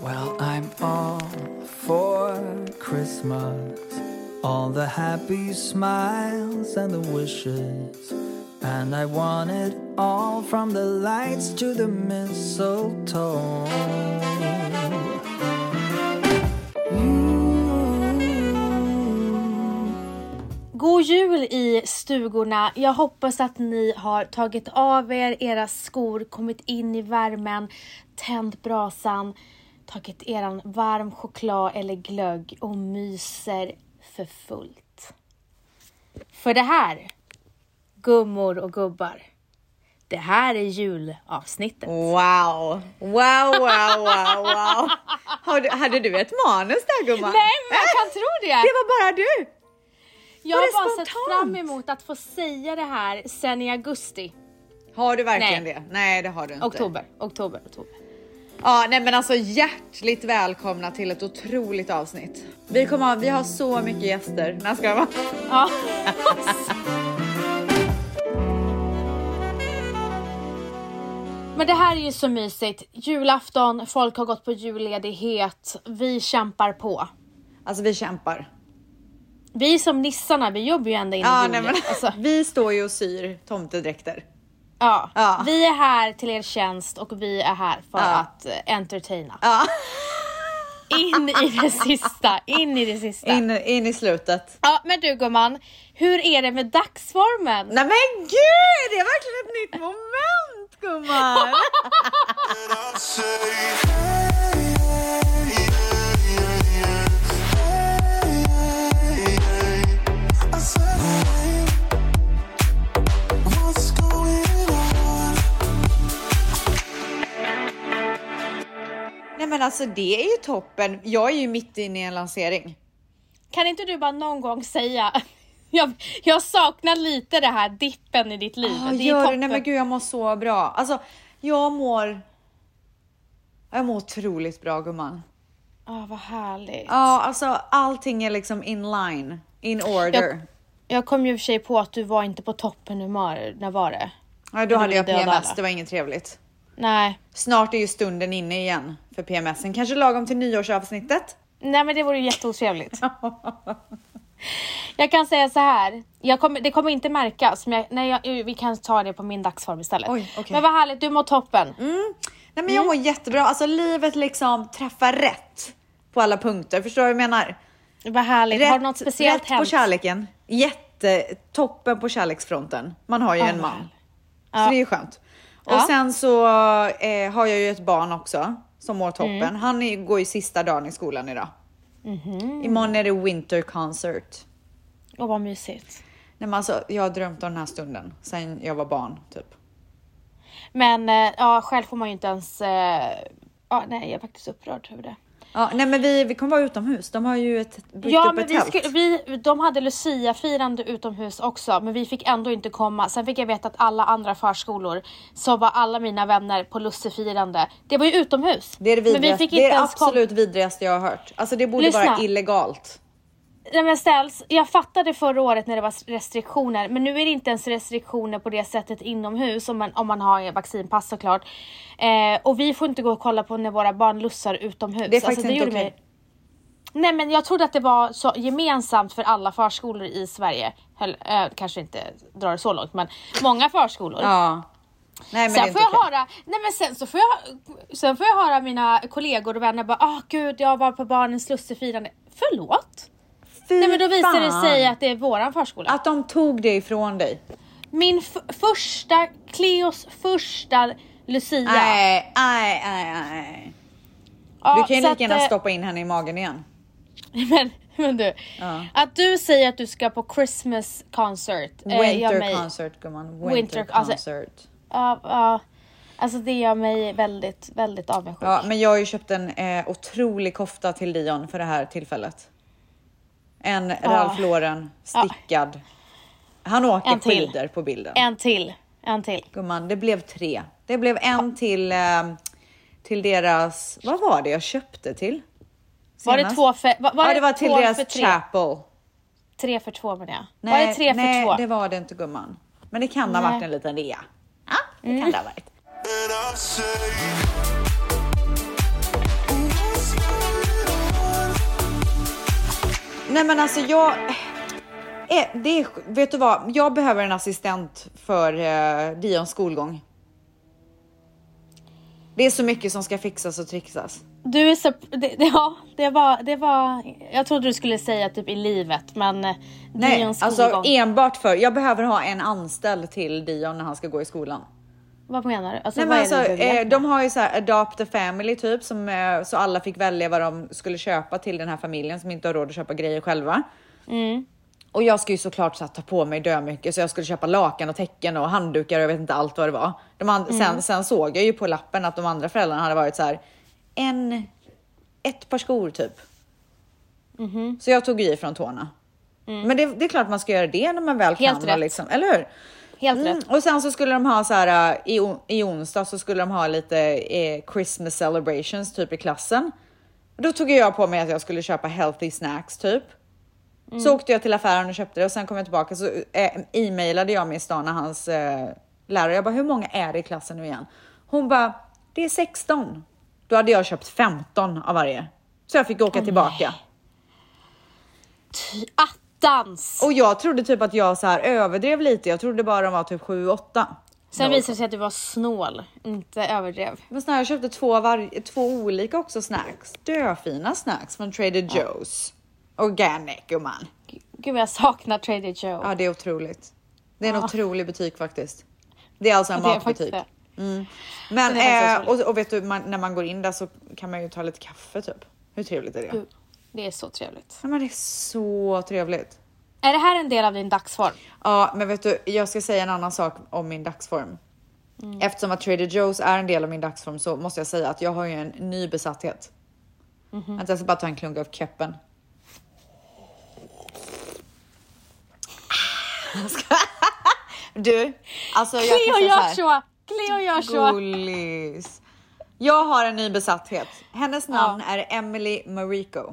Well, I'm all for Christmas. All the happy smiles and the wishes. And I want it all from the lights to the mistletoe. God jul i stugorna! Jag hoppas att ni har tagit av er era skor, kommit in i värmen, tänt brasan, tagit eran varm choklad eller glögg och myser för fullt. För det här, gummor och gubbar, det här är julavsnittet. Wow, wow, wow, wow, wow. Har du, hade du ett manus där gumman? Nej, men jag kan tro det! Det var bara du! Jag var har det bara sett spontant? fram emot att få säga det här sen i augusti, Har du verkligen Nej. det? Nej, det har du inte. oktober, oktober, oktober. Ja, nej men alltså hjärtligt välkomna till ett otroligt avsnitt. Vi kommer ha, vi har så mycket gäster. När ska jag vara? Ja. Men det här är ju så mysigt. Julafton, folk har gått på julledighet, vi kämpar på. Alltså vi kämpar. Vi är som nissarna, vi jobbar ju ända in i Ja, nej, julen. men, Alltså, Vi står ju och syr tomtedräkter. ja. Ja. Vi är här till er tjänst och vi är här för Ja. att eh, entertaina. Ja, In i det sista, in i det sista. in, in i slutet. Ja, men du gumman, hur är det med dagsformen? Nej men gud, det är verkligen ett nytt moment gumman. Nej men alltså det är ju toppen. Jag är ju mitt inne i en lansering. Kan inte du bara någon gång säga jag, jag saknar lite det här dippen i ditt liv. Ja, det Ah, gör är du? Nej men gud jag mår så bra. Alltså jag mår... Jag mår otroligt bra gumman. Ja, Ah, vad härligt. Ja, alltså allting är liksom in line, in order. Jag kom ju i och för sig på att du var inte på toppenhumör. När var det? Ja, då hade jag döda PMS, alla. det var inget trevligt. Nej. Snart är ju stunden inne igen för PMSen. Kanske lagom till nyårsavsnittet. Nej men det vore ju jätteotrevligt. jag kan säga så här. Jag kommer, det kommer inte märkas men jag, nej, jag, eh, vi kan ta det på min dagsform istället. Oj, okej. Mm. Men vad härligt, du mår toppen. Nej men jag mår jättebra. Alltså livet liksom träffar rätt på alla punkter. Förstår du vad jag menar? Vad härligt. Har något speciellt rätt på hänt? kärleken. Jätte, toppen på kärleksfronten. Man har ju Ja, en vad man. härligt. Så det är ju skönt. Och Ja. sen så eh, har jag ju ett barn också som mår toppen. Mm. Han är, går ju sista dagen i skolan idag. Mhm. Imorgon är det winter concert. Åh vad mysigt. Nej, men alltså, jag har drömt om den här stunden sen jag var barn typ. Men eh, ja, själv får man ju inte ens... Eh, ja, nej, jag är faktiskt upprörd över det. Ja, nej men vi, vi kommer vara utomhus. De har ju ett, byggt Ja, upp men ett vi tält. skulle, vi, de hade Lucia-firande utomhus också, men vi fick ändå inte komma. Sen fick jag veta att alla andra förskolor, så var alla mina vänner på Lussefirande. Det var ju utomhus. Det är det men vi vidrigaste. fick Det inte är det ens komma. absolut vidrigaste jag har hört. Alltså det borde Lyssna. vara illegalt. Nej, men ställs, jag fattade förra året när det var restriktioner, men nu är det inte ens restriktioner på det sättet inomhus om man, om man har vaccinpass såklart. Eh, och vi får inte gå och kolla på när våra barn lussar utomhus. Alltså, Det är faktiskt inte gjorde okej. mig- Nej men jag trodde att det var så gemensamt för alla förskolor i Sverige. Höll, eh, kanske inte drar det så långt men många förskolor. Ja. Nej men det är Sen inte får jag okej. höra, nej men sen så får jag, sen får jag höra mina kollegor och vänner bara ah gud jag var på barnens lussefirande. Förlåt? Fy Nej men då visar det fan. sig att det är våran förskola. Att de tog det ifrån dig. Min f- första, Cleos första Lucia. Nej, nej, nej, nej. Ja, Du kan ju så lika gärna att, eh, stoppa in henne i magen igen. Men, men du, Ja. att du säger att du ska på Christmas concert. eh, gör Winter mig, concert gumman. Winter, Winter- alltså- concert. Ja, ja. alltså det gör mig väldigt, väldigt avundsjuk. Ja, men jag har ju köpt en eh, otrolig kofta till Dion för det här tillfället. En Ralph Lauren stickad. Han åker En till. skidor på bilden. En till, en till. Gumman, det blev tre. Det blev en till, eh, till deras, vad var det jag köpte till? Var det Senast? två för, var, var ja, det var till två deras för tre? chapel. Tre för två menar jag. var det tre nej, för två? det var det inte gumman. Men det kan ha Nej. varit en liten rea. Mm. Ja, det kan det ha varit. And I'm saying, Nej men alltså jag... Eh, Det är, vet du vad? Jag behöver en assistent för eh, Dions skolgång. Det är så mycket som ska fixas och trixas. Du är så... Det, det- ja, det var, det var... Jag trodde du skulle säga typ i livet, men eh, Nej, Dions alltså skolgång. enbart för... Jag behöver ha en anställd till Dion när han ska gå i skolan. Vad menar du? Alltså, Nej, vad men är alltså, det du vill eh, hjälpa? de har ju så här adopt a family typ som eh, så alla fick välja vad de skulle köpa till den här familjen som inte har råd att köpa grejer själva. Mm. Och jag ska ju såklart så här, ta på mig dö mycket så jag skulle köpa lakan och täcken och handdukar och jag vet inte allt vad det var. De and- Mm. sen, sen såg jag ju på lappen att de andra föräldrarna hade varit så här en, ett par skor typ. Mhm. Så jag tog i från tårna. Men det, det är klart man ska göra det när man väl Mm. Helt kan. rätt. Liksom, eller hur? Helt Mm, rätt. och sen så skulle de ha så här äh, i, on- i onsdag så skulle de ha lite eh, Christmas celebrations typ i klassen. Då tog jag på mig att jag skulle köpa healthy snacks typ. Så åkte jag till affären och köpte det och sen kom jag tillbaka så eh, e-mailade jag med Stana, hans eh, lärare. Jag bara, hur många är det i klassen nu igen? Hon bara, det är 16. Då hade jag köpt 15 av varje. Så jag fick åka tillbaka. Ty attans! Och jag trodde typ att jag så här överdrev lite. Jag trodde bara de var typ 7-8. Sen visade det sig att du var snål, inte överdrev. Men snarare jag köpte två, var- två olika också snacks. Döfina snacks från Trader Joe's. Organic gumman. Gud vad jag saknar Trader Joe. Ja det är otroligt. Det är en otrolig butik faktiskt. Det är alltså en det är matbutik. faktiskt det. Men Det är eh, faktiskt och, och vet du man, när man går in där så kan man ju ta lite kaffe typ. Hur trevligt är det? Gud, det är så trevligt. Nej, men det är så trevligt. Är det här en del av din dagsform? Ja, men vet du, jag ska säga en annan sak om min dagsform. Eftersom att Trader Joe's är en del av min dagsform så måste jag säga att jag har ju en ny besatthet. Att jag ska bara ta en klunk av keppen. Jag ska- Du, alltså jag Cleo kan säga gör så så! Cleo gör här. så! Gullis. Jag har en ny besatthet. Hennes namn är Emily Marico.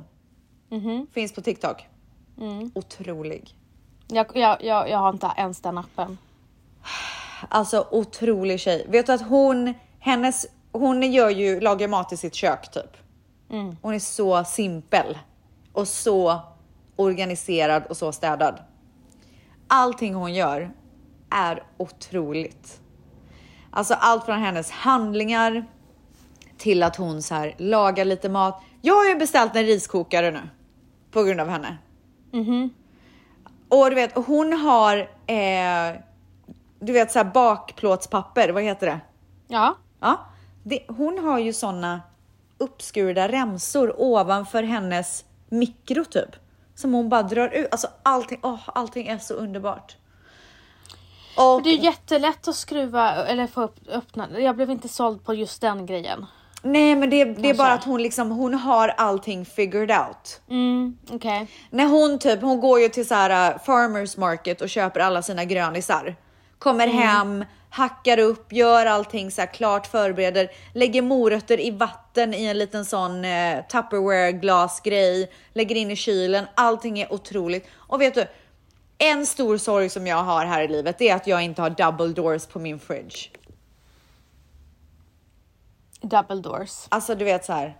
Finns på TikTok. Otrolig. Jag, jag, jag, jag har inte ens den appen. Alltså otrolig tjej. Vet du att hon, hennes, hon gör ju, lagar mat i sitt kök typ. Hon är så simpel och så organiserad och så städad. Allting hon gör är otroligt. Alltså allt från hennes handlingar till att hon så här lagar lite mat. Jag har ju beställt en riskokare nu på grund av henne. Och du vet, hon har eh, du vet så här bakplåtspapper, vad heter det? Ja. Ja, det, hon har ju såna uppskurna remsor ovanför hennes mikro typ som hon bara drar ut. Alltså allting, åh, allting är så underbart. Och, Det är ju jättelätt att skruva eller få upp, öppna. Jag blev inte såld på just den grejen. nej, men det, det är bara att hon liksom, hon har allting figured out. Mm, okej. När hon typ, hon går ju till så här äh, farmers market och köper alla sina grönisar. Kommer hem, hackar upp, gör allting så här klart, förbereder, lägger morötter i vatten i en liten sån eh, tupperware glasgrej, lägger in i kylen. Allting är otroligt. Och vet du, en stor sorg som jag har här i livet det är att jag inte har double doors på min fridge. Double doors. Alltså du vet så här.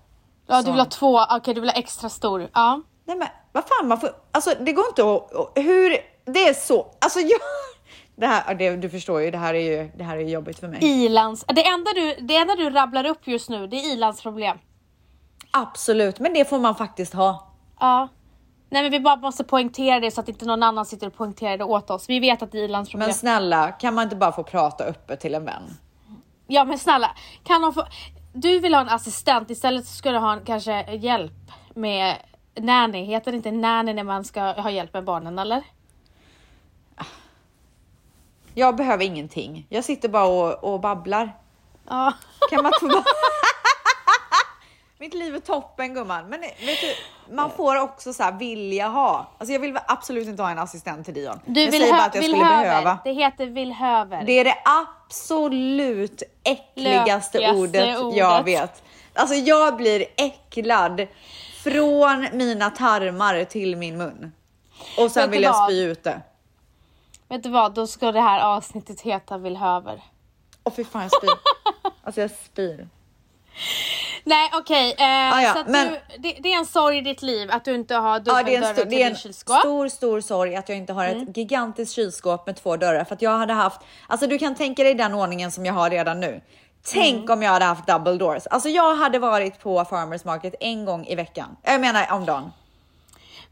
Ja, du Så. vill ha två. Okej, du vill ha extra stor. Ja. Nej men vad fan man får, alltså det går inte att, och- hur, det är så, alltså jag, det här, ja, det, du förstår ju, det här är ju, det här är ju jobbigt för mig. Ilands. Det enda, du, det enda du rabblar upp just nu, det är Ilans problem. Absolut, men det får man faktiskt ha. Ja. Nej men vi bara måste poängtera det så att inte någon annan sitter och poängterar det åt oss. Vi vet att det är Ilans problem. Men snälla, kan man inte bara få prata öppet till en vän? ja men snälla, kan de få... Du vill ha en assistent, istället så ska du ha en kanske hjälp med nanny. Heter det inte nanny när man ska ha hjälp med barnen eller? Jag behöver ingenting, jag sitter bara och, och babblar. Ja. Kan man få bara... Mitt liv är toppen gumman, men eh, vet du, man får också så här vilja ha. Alltså jag vill absolut inte ha en assistent till Dion. Du jag vill, säger bara hö- att jag vill skulle behöva. höver. Det heter vill höver. Det är det absolut äckligaste Lökigaste ordet, jag ordet. vet. Alltså jag blir äcklad från mina tarmar till min mun. Och sen Vet du vill jag vad? spy ut det. Vet du vad, då ska det här avsnittet heta vill höver. Åh fy fan jag spyr. Alltså jag spyr. Nej okej, eh, Ah, ja, så att men- du, det, det är en sorg i ditt liv att du inte har dubbla Ja, det är en, dörrar stor, till det är din en kylskåp. Mm. stor, stor sorg att jag inte har ett gigantiskt kylskåp med två dörrar för att jag hade haft, alltså du kan tänka dig den ordningen som jag har redan nu. Tänk Mm. om jag hade haft double doors. Alltså jag hade varit på farmers market en gång i veckan. Jag menar om dagen.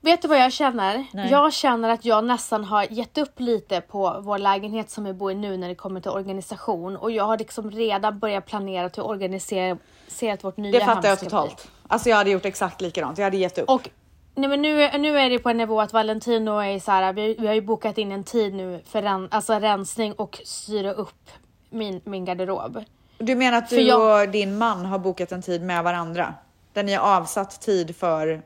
Vet du vad jag känner? Nej. Jag känner att jag nästan har gett upp lite på vår lägenhet som vi bor i nu när det kommer till organisation och jag har liksom redan börjat planera hur organiserat vårt nya Det hem fattar jag ska bli. totalt. Alltså jag hade gjort exakt likadant. Jag hade gett upp. Och nej men nu, nu är det på en nivå att Valentino är så här, vi, vi har ju bokat in en tid nu för ren, alltså rensning och syra upp min, min garderob. du menar att för du jag- och din man har bokat en tid med varandra? Där ni har avsatt tid för...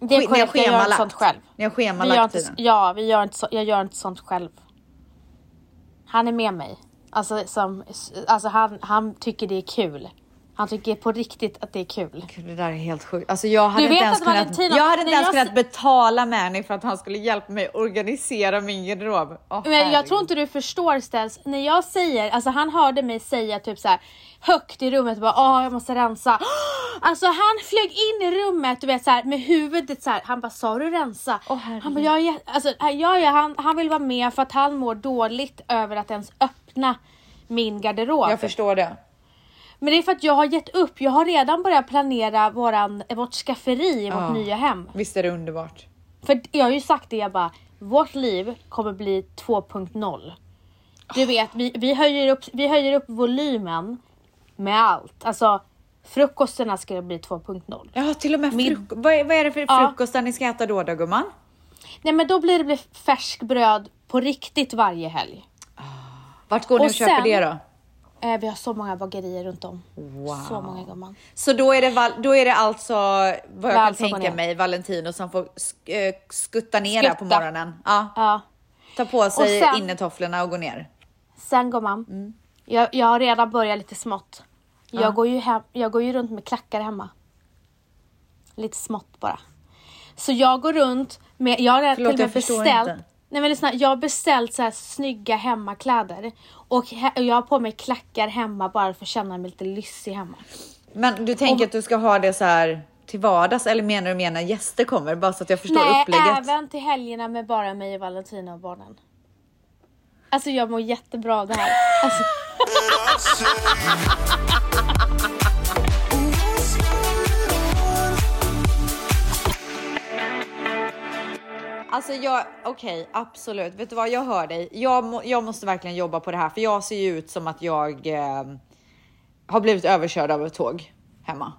Det är Ni har korrekt, jag gör inte schemalagt. sånt själv. Ni har Vi gör schemalagt inte, tiden. ja, vi gör inte så, jag gör inte sånt själv. Han är med mig. Alltså, som, alltså han, han tycker det är kul. Han tycker på riktigt att det är kul. Gud, Det där är helt sjukt. Alltså jag hade Du inte vet ens att kunnat, Valentino- jag hade inte när ens jag kunnat se- betala Mani för att han skulle hjälpa mig organisera min garderob. Åh, Men jag herregud. tror inte du förstår Stens, när jag säger, alltså han hörde mig säga typ så här högt i rummet bara åh jag måste rensa. Alltså han flög in i rummet du vet så här med huvudet så här. han bara sa du rensa? Åh, herregud. han bara jag är, jä- alltså, ja, ja, han, han vill vara med för att han mår dåligt över att ens öppna min garderob. Jag förstår det. Men det är för att jag har gett upp, jag har redan börjat planera våran, vårt skafferi i vårt Ja. nya hem. Visst är det underbart? För jag har ju sagt det, jag bara, vårt liv kommer bli 2.0. Du vet, vi, vi, höjer upp, vi höjer upp volymen med allt. Alltså, frukosterna ska bli 2.0. Ja, till och med Min- fruk- vad, är, vad är det för Ja. frukostar ni ska äta då, då gumman? Nej men då blir det bli färskbröd på riktigt varje helg. Vart går ni och, Och köper sen- det då? Eh, vi har så många bagerier runt om. Så många gumman. Så då är det, val- då är det alltså vad jag kan Valsa går tänka ner. mig Valentino som får sk- eh, skutta ner där på Skutta. morgonen. Ja, Ja. ta på sig sen- innetofflorna och gå ner. Sen gumman, Mm. jag, jag har redan börjat lite smått. Jag, går ju hem, jag går ju runt med klackar hemma. Lite smått bara. Så jag går runt med, jag har redan till Förlåt, och med jag förstår beställt. inte. Nej men lyssna, jag har beställt så här snygga hemmakläder. Och he, och jag har på mig klackar hemma bara för att känna mig lite lyssig hemma. Men du tänker att du ska ha det så här till vardags eller menar du mer när gäster kommer? Bara så att jag förstår Nej, upplägget. även till helgerna med bara mig och Valentina och barnen. Alltså jag mår jättebra av det här. Alltså, Alltså jag, okej absolut. Vet du vad, jag hör dig. Jag, må, jag måste verkligen jobba på det här för jag ser ju ut som att jag eh, har blivit överkörd av ett tåg hemma.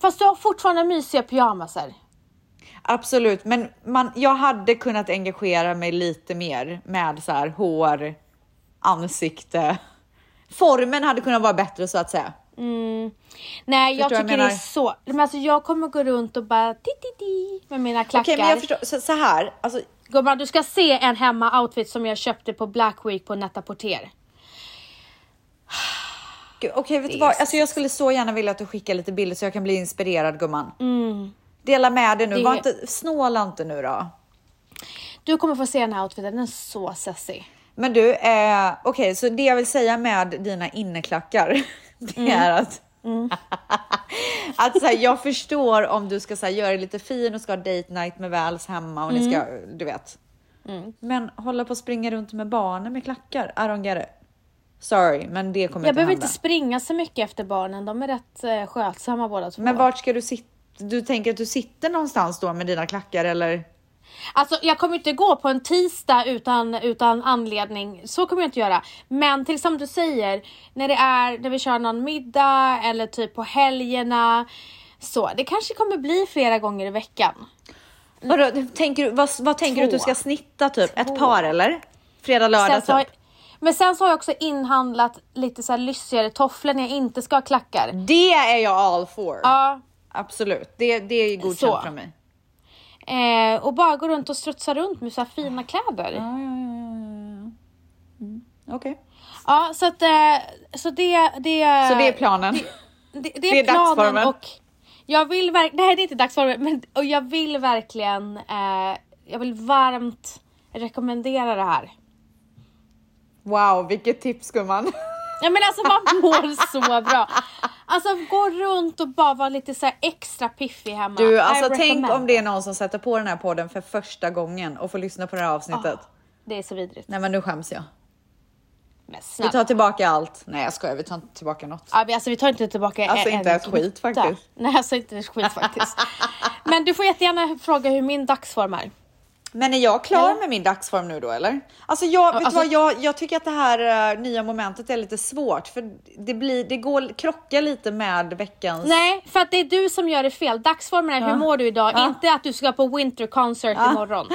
fast du har fortfarande mysiga pyjamaser. Absolut, men man, jag hade kunnat engagera mig lite mer med så här hår, ansikte. Formen hade kunnat vara bättre så att säga. Nej, jag tycker Förstår vad jag det är menar? så. Men alltså jag kommer gå runt och bara ti ti ti med mina klackar. Okej, men jag förstår. Så, så här, alltså, Gumman, du ska se en hemma-outfit som jag köpte på Black Week på Net-a-Porter. gud, okej, vet du vad? Alltså, jag skulle så gärna vilja att du skickar lite bilder så jag kan bli inspirerad gumman. Dela med dig nu, Det- Var inte, snåla inte nu då. Du kommer få se den här outfiten, den är så sexig. Men du, eh, okej, så det jag vill säga med dina inneklackar, det Mm. är att, att så här, jag förstår om du ska så här, göra dig lite fin och ska ha date night med Väls hemma och ni Mm. ska, du vet. Men hålla på och springa runt med barnen med klackar, I don't get it. Sorry, men det kommer Jag inte behöver hända. inte springa så mycket efter barnen, de är rätt eh, skötsamma båda två. men vart ska du sitta? Du tänker att du sitter någonstans då med dina klackar eller? Alltså jag kommer inte gå på en tisdag utan, utan anledning, så kommer jag inte göra. Men till som du säger, när det är när vi kör någon middag eller typ på helgerna. Så det kanske kommer bli flera gånger i veckan. Vadå, tänker du, vad, vad tänker du att du Två. ska snitta typ? Ett Två. par eller? Fredag, lördag Sen typ? så har, men sen så har jag också inhandlat lite så här lyssigare tofflor när jag inte ska ha klackar. Det är jag all for. Ja, Absolut, det, det är godkänt Så. från mig. eh, och bara gå runt och strutsa runt med så här fina kläder. Ja, ja, ja, ja, ja. Mm. Okej. Ja, så att eh, så det, det... Så Eh, det är planen. Det, det, Det är är planen dagsformen. och jag vill verkligen, nej det är inte dagsformen, men och jag vill verkligen, eh, jag vill varmt rekommendera det här. Wow, vilket tips gumman. Ja men alltså man mår så bra. Alltså gå runt och bara vara lite så här extra piffig hemma. Du, alltså I tänk recommend. om det är någon som sätter på den här podden för första gången och får lyssna på det här avsnittet. Det är så vidrigt. Nej, men nu skäms jag. Men Vi snälla. tar tillbaka allt. Nej, jag skojar. Vi tar inte tillbaka något. Ja, vi- alltså vi tar inte tillbaka Alltså, en inte ett skit gnutta. faktiskt. Nej, alltså inte ett skit faktiskt. Men du får jättegärna fråga hur min dagsform är. Men är jag klar Eller? med min dagsform nu då eller? Alltså jag, vet alltså- du vad, jag, jag tycker att det här eh, nya momentet är lite svårt för det, blir, det går, krockar lite med veckans... Nej, för att det är du som gör det fel. Dagsformen är hur mår du idag, inte att du ska på winter concert imorgon.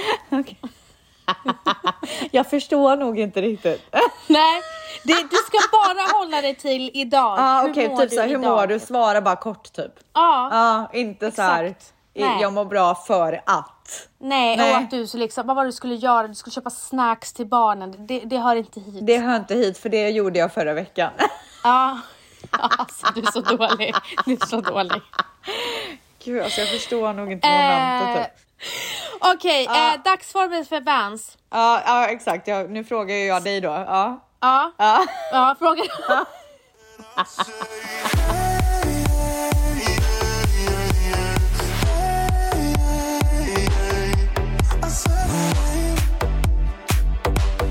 Jag förstår nog inte riktigt. Ja Nej, det, du ska bara hålla dig till idag. ah, okej, typ såhär, hur mår idag? du? Svara bara kort typ. Ja, Ja, inte så här, Exakt. Nej. jag mår bra för att. nej, nej. och att du så liksom, vad var det du skulle göra? Du skulle köpa snacks till barnen. Det, det hör inte hit. Det hör inte hit för det gjorde jag förra veckan. Ja, alltså du är så dålig. Du är så dålig. Gud alltså jag förstår nog inte Eh, momentet. Typ. Ah. Okej, eh, dagsformen för Vans. Ja, ja, exakt, jag, nu frågar ju jag dig då. Ja. Ja, Ja. ja fråga.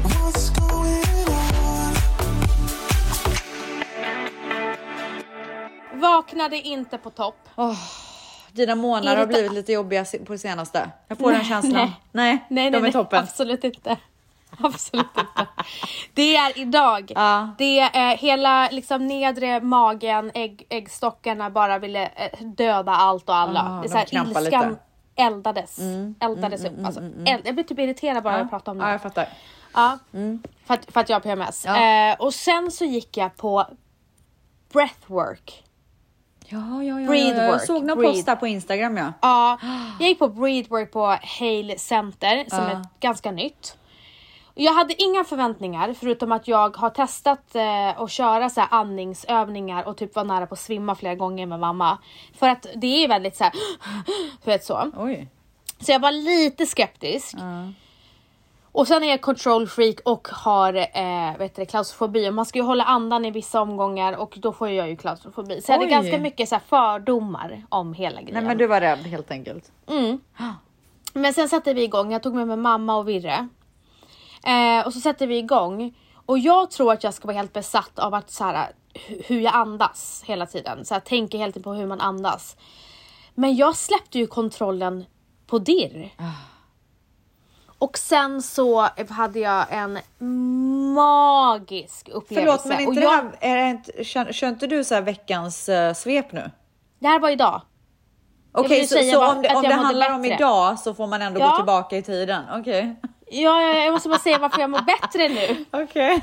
What's going on? Vaknade inte på topp. Dina månader har Irrita- blivit lite jobbiga se- på det senaste. Jag får den känslan. nej. Nej, Alltså, Nej, de nej, är toppen. Nej, absolut inte. Absolut inte. Det är idag. Ja. Det är eh, hela liksom nedre magen, ägg, äggstockarna bara ville eh, döda allt och alla. Ah, det är de så här, knappar ilskan lite. Mm. eldades. eldades upp. Alltså, eld, jag blir typ irriterad bara när jag pratar om det. Ja, jag fattar. Ja, för, att, för att jag har PMS. Mm. Ja. Eh, och sen så gick jag på breathwork. Ja, ja, ja. Breathe Jag work, såg någon breathe. post där på Instagram ja. Ja, jag gick på breathwork på Hale Center som Ja. är ganska nytt. Jag hade inga förväntningar förutom att jag har testat eh, att köra så här andningsövningar och typ var nära på att svimma flera gånger med mamma. För att det är ju väldigt så här, du vet så. Oj. Så jag var lite skeptisk. Och sen är jag control freak och har eh, vet du, det, klaustrofobi. Och Man ska ju hålla andan i vissa omgångar och då får jag ju klaustrofobi. Så jag hade Oj. ganska mycket så här, fördomar om hela grejen. Nej men du var rädd helt enkelt. Men sen satte vi igång, jag tog med mig mamma och Virre. Eh, och så sätter vi igång. Och jag tror att jag ska vara helt besatt av att så här, hu- hur jag andas hela tiden. Så jag tänker hela tiden på hur man andas. Men jag släppte ju kontrollen på dirr. Ah. Och sen så hade jag en magisk upplevelse. Förlåt men inte och det jag, här, är det inte, kör, kör inte du så här veckans eh, svep nu? det här var idag. vill Okej ju så, säga så bara om det, att om jag det mådde handlar om bättre. idag så får man ändå Ja. gå tillbaka i tiden? Okej. Ja, ja, jag måste bara säga varför jag mår bättre nu. Okej.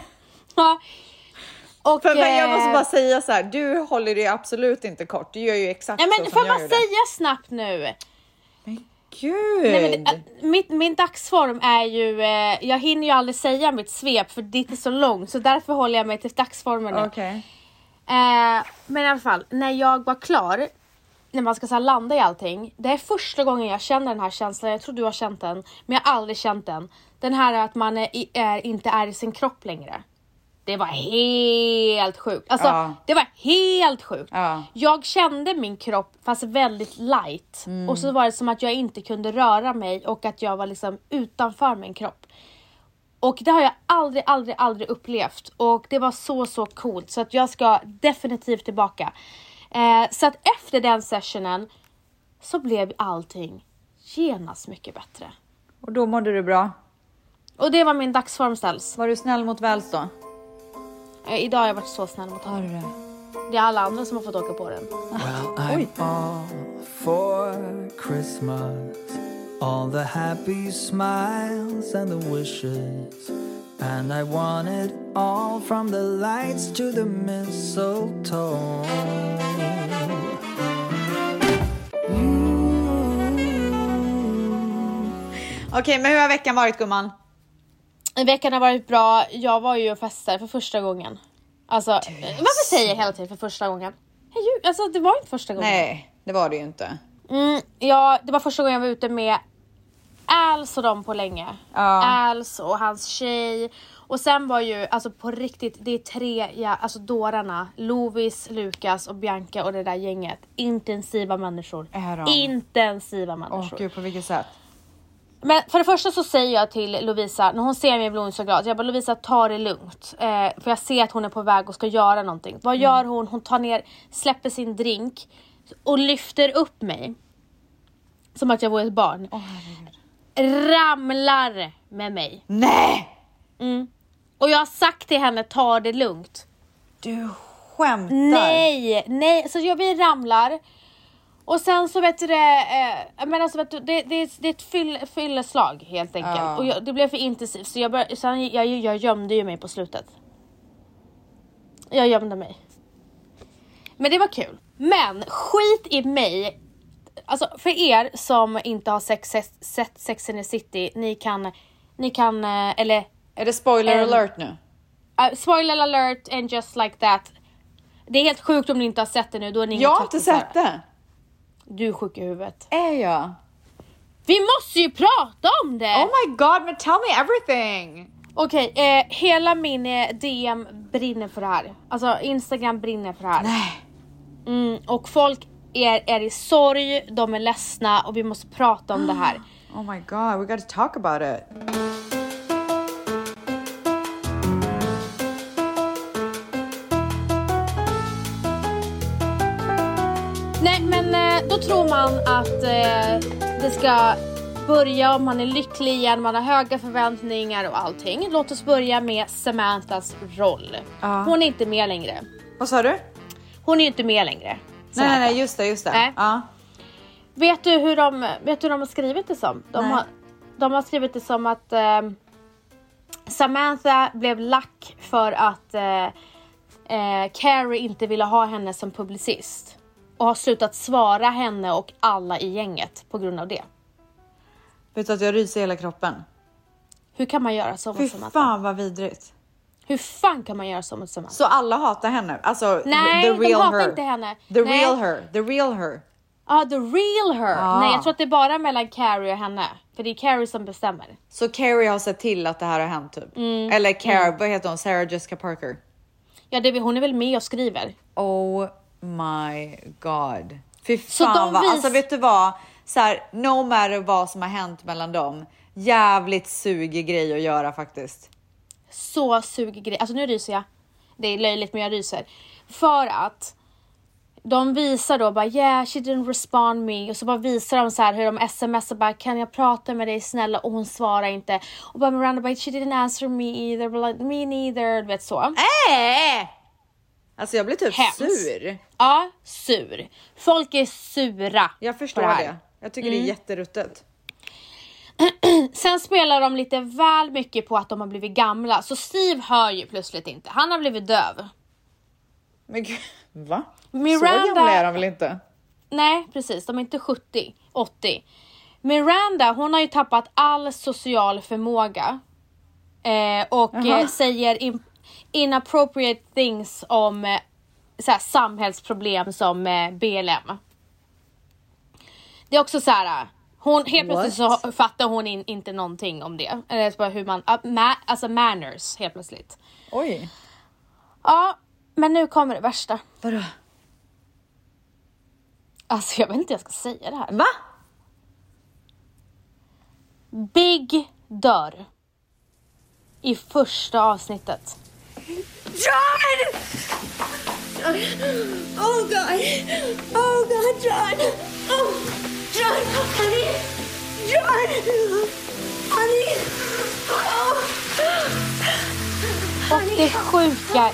Ja. Och, För men jag måste eh, bara säga så här, du håller dig absolut inte kort. Du gör ju exakt Nej så men får som jag jag bara gjorde. säga snabbt nu? Gud! Nej, men, äh, mitt, min dagsform är ju, eh, jag hinner ju aldrig säga mitt svep för det är så långt så därför håller jag mig till dagsformen nu. Okej. Eh, men i alla fall, när jag var klar, när man ska så här, landa i allting. Det är första gången jag känner den här känslan, jag tror du har känt den, men jag har aldrig känt den. Den här att man är, i- är, inte är i sin kropp längre. Det var helt sjukt. Alltså, Ja. det var helt sjukt. Ja. Jag kände min kropp fast väldigt light. Och så var det som att jag inte kunde röra mig och att jag var liksom utanför min kropp. Och det har jag aldrig, aldrig, aldrig upplevt. Och det var så, så coolt. Så att jag ska definitivt tillbaka. Eh, så att efter den sessionen så blev allting genast mycket bättre. Och då mådde du bra? Och det var min dagsform ställs. Var du snäll mot Väls då? Eh, idag har jag varit så snäll mot honom. Det är alla andra som har fått åka på den. Well, I'm all for Christmas, all the happy smiles and the wishes. And I want it all from the lights to the mistletoe. Okej, men hur har veckan varit gumman? Veckan har varit bra. Jag var ju och festade för första gången. Alltså, eh, varför säger jag hela tiden för första gången? Jag ljug- Alltså det var inte första gången. alltså. Nej, det var det ju inte. Mm, ja, det var första gången jag var ute med Als och dem på länge. Ja. Als och hans tjej. Och Och sen var ju, alltså på riktigt, det är tre, ja, alltså dårarna. Lovis, Lukas och Bianca och det där gänget. Intensiva människor. Är de? Intensiva Åh människor. gud, på vilket sätt? Men för det första så säger jag till Lovisa, när hon ser mig bli så glad, jag bara Lovisa ta det lugnt. Eh, för jag ser att hon är på väg och ska göra någonting. Vad gör hon? Hon tar ner, släpper sin drink och lyfter upp mig. Som att jag vore ett barn. Ramlar med mig. Nej! Och jag har sagt till henne, ta det lugnt. Du skämtar? Nej, nej, så jag, vi ramlar. Och sen så vet du det, eh, men alltså vet du, det, det, det är ett fyll, fylleslag helt enkelt. Ja. Och jag, det blev för intensivt så jag, började, sen, jag, jag gömde ju mig på slutet. Jag gömde mig. Men det var kul. Men skit i mig. Alltså för er som inte har sex, sex, sett Sex and the City, ni kan, ni kan, eh, eller Är det spoiler Ehm. alert nu? Uh, spoiler alert and just like that. Det är helt sjukt om ni inte har sett det nu. Då är ni inga Jag har inte tackisar. sett det. Du är sjuk i huvudet. Är jag? Vi måste ju prata om det! Oh my god, men tell me everything! Okej, eh, hela min eh, DM brinner för det här. Alltså Instagram brinner för det här. Nej. Mm, och folk är, är i sorg, de är ledsna och vi måste prata om det här. Oh my god, we gotta talk about it. Nej men eh, då tror man att eh, det ska börja om man är lycklig igen, man har höga förväntningar och allting. Låt oss börja med Samanthas roll. Ja. Hon är inte med längre. Vad sa du? Nej, Hon är ju inte med längre. nej, Samantha. nej, just det, just det. Nej. Ja. Vet, du hur de, vet du hur de har skrivit det som? De, Nej. har, de har skrivit det som att eh, Samantha blev lack för att eh, eh, Carrie inte ville ha henne som publicist. Och har slutat svara henne och alla i gänget på grund av det. Vet du att jag ryser i hela kroppen? Hur kan man göra så Fy mot Samantha? fan vad vidrigt. Hur fan kan man göra så mot Samantha? Så alla hatar henne? Alltså Nej, the de real hatar her. inte henne. The Nej. real her, the real her. Ja, the real her! Ah. Nej, jag tror att det är bara mellan Carrie och henne. För det är Carrie som bestämmer. Så Carrie har sett till att det här har hänt typ. Eller Carrie, vad heter hon? Sarah Jessica Parker. Ja, det, hon är väl med och skriver. Oh my god. Fy fan Så de vad, vis- alltså vet du vad? Så här, no matter vad som har hänt mellan dem, jävligt sugig grej att göra faktiskt. så sug grej. Alltså nu ryser jag. Det är löjligt men jag ryser. För att de visar då bara yeah she didn't respond me och så bara visar de så här hur de smsar bara kan jag prata med dig snälla och hon svarar inte. Och bara Miranda bara she didn't answer me either, blah, blah, me neither, du vet så. Äh! Alltså jag blir typ Eh, Hemskt. sur. Ja, sur. Folk är sura. Jag på förstår här. det. Jag tycker Mm. det är jätteruttet. Sen spelar de lite väl mycket på att de har blivit gamla så Steve hör ju plötsligt inte. Han har blivit döv. Men gud, va? Miranda- Så gamla är de väl inte? Nej, precis. De är inte 70, 80. Miranda, hon har ju tappat all social förmåga. Eh, och eh, säger in, inappropriate things om eh, så här, samhällsproblem som eh, BLM. Det är också så här. eh, Hon, helt plötsligt så What? ha- fattar hon in, inte någonting om det. Eller så bara hur man, ah, ma, alltså manners helt plötsligt. Oj. Ja, men nu kommer det värsta. Vadå? Alltså jag vet inte hur jag ska säga det här. Va? Big dör. I första avsnittet. John! Oh God! Oh God, John! Oh, John, oh, honey, John, honey. Oh. Och det sjuka är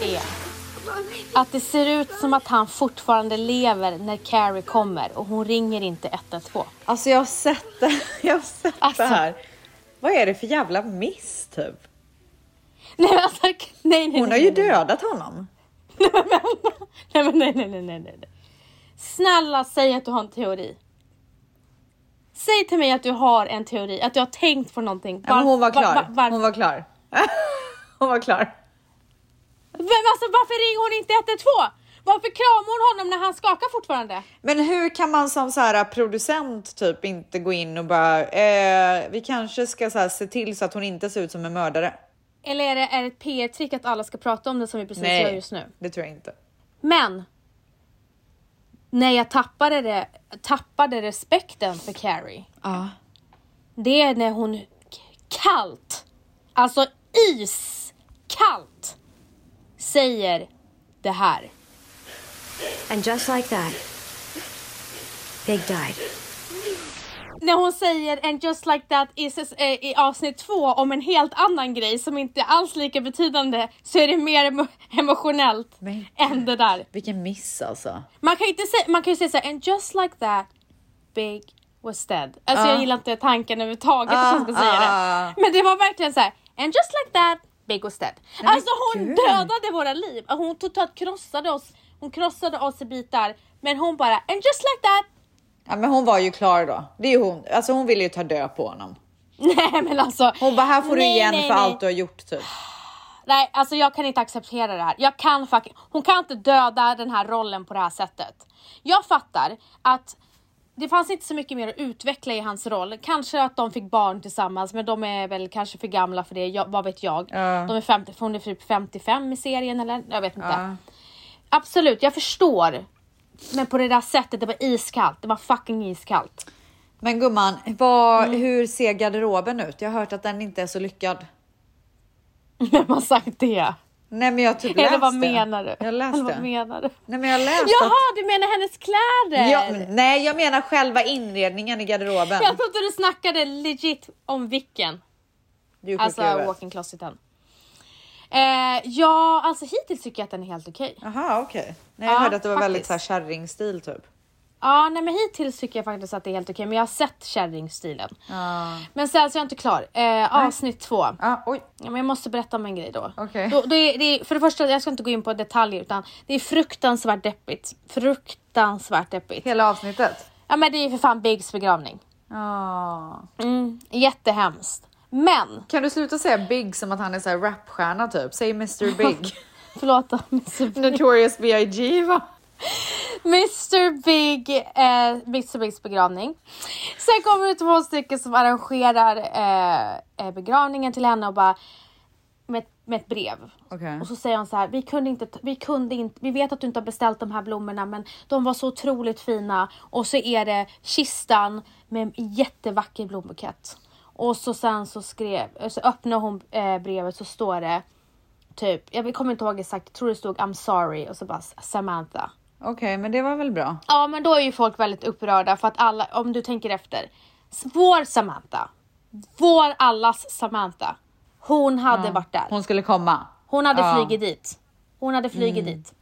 Honey. att det ser ut som att han fortfarande lever när Carrie kommer och hon ringer inte 112. Alltså jag har sett det, jag har sett Alltså. det här. Vad är det för jävla miss typ? Nej men alltså, nej nej nej. Hon har ju dödat honom. Nej men nej nej nej nej. nej. Snälla säg att du har en teori. Säg till mig att du har en teori, att du har tänkt på någonting. Ja, men hon var Varför- klar. va- va- varför- hon var klar. hon var klar. Men alltså varför ringer hon inte 112? Varför kramar hon honom när han skakar fortfarande? Men hur kan man som så här, producent typ inte gå in och bara eh, vi kanske ska så här, se till så att hon inte ser ut som en mördare? Eller är det, är det ett PR-trick att alla ska prata om det som vi precis gör just nu? det tror jag inte. Men! När jag tappade, det, tappade respekten för Carrie, Ja. det är när hon k- kallt, alltså iskallt, säger det här. And just like that, Big died. När hon säger and just like that i, ses- eh, i avsnitt två om en helt annan grej som inte är alls lika betydande så är det mer emo- emotionellt Men- än det där. Vilken miss alltså. Man kan, inte säga, man kan ju säga såhär, and just like that, Big was dead. Alltså jag gillar inte tanken överhuvudtaget att hon ska ah, säga ah. det. Men det var verkligen så här: and just like that, Big was dead. alltså hon gud. dödade våra liv. Alltså, Hon totalt krossade oss. Hon krossade oss i bitar. Men hon bara, and just like that. Ja, men hon var ju klar då. Det är ju hon. Alltså hon ville ju ta död på honom. Nej men alltså. Hon bara, här får du nej, igen nej, för nej. allt du har gjort typ. Nej, alltså jag kan inte acceptera det här. Jag kan fucking... Hon kan inte döda den här rollen på det här sättet. Jag fattar att det fanns inte så mycket mer att utveckla i hans roll. Kanske att de fick barn tillsammans, men de är väl kanske för gamla för det. Jag, vad vet jag? De är 50, för hon är typ 55 i serien eller? Jag vet inte. Absolut, jag förstår. Men på det där sättet, det var iskallt. Det var fucking iskallt. Men gumman, vad, Mm. hur ser garderoben ut? Jag har hört att den inte är så lyckad. Vem har sagt det? Nej men jag har typ läste. Eller vad menar du? Jag läste. Eller vad menar du? Nej men jag läste Jaha, du menar hennes att... kläder? Ja, men- nej jag menar själva inredningen i garderoben. Jag trodde du snackade legit om vilken. Du är sjuk i Alltså huvudet. walk-in closeten. Eh, ja, alltså hittills tycker jag att den är helt okej. Jaha okej. Nej jag Ja, hörde att det var väldigt så här faktiskt. kärringstil typ. Ja, nej men hittills tycker jag faktiskt att det är helt okej. men jag har sett kärringstilen. Men sen så är jag inte klar. Eh, avsnitt två. Ah, oj. Ja, men jag måste berätta om en grej då. Okej. då, då är, det är, för det första, jag ska inte gå in på detaljer utan det är fruktansvärt deppigt. Fruktansvärt deppigt. Hela avsnittet? Ja men det är ju för fan Biggs begravning. Ja. Mm, jättehemskt. Men Kan du sluta säga Big som att han är så här rapstjärna typ? Säg Mr Big. förlåt om jag Notorious B.I.G va? Mr Big, eh, Mr Bigs begravning. Sen kommer det två stycken som arrangerar eh, eh, begravningen till henne och bara med, med ett brev. Okej. Och så säger hon så här, vi kunde, inte, ta- vi kunde inte, vi vet att du inte har beställt de här blommorna men de var så otroligt fina. Och så är det kistan med en jättevacker blombukett. Och så sen så skrev, så öppnar hon eh, brevet så står det typ, jag kommer inte ihåg exakt, jag tror det stod I'm sorry och så bara Samantha. Okej men det var väl bra. Ja, men då är ju folk väldigt upprörda för att alla, om du tänker efter. Vår Samantha, vår allas Samantha, hon hade varit där. Hon skulle komma. Hon hade Ja. Mm. flugit dit. Hon hade flugit dit.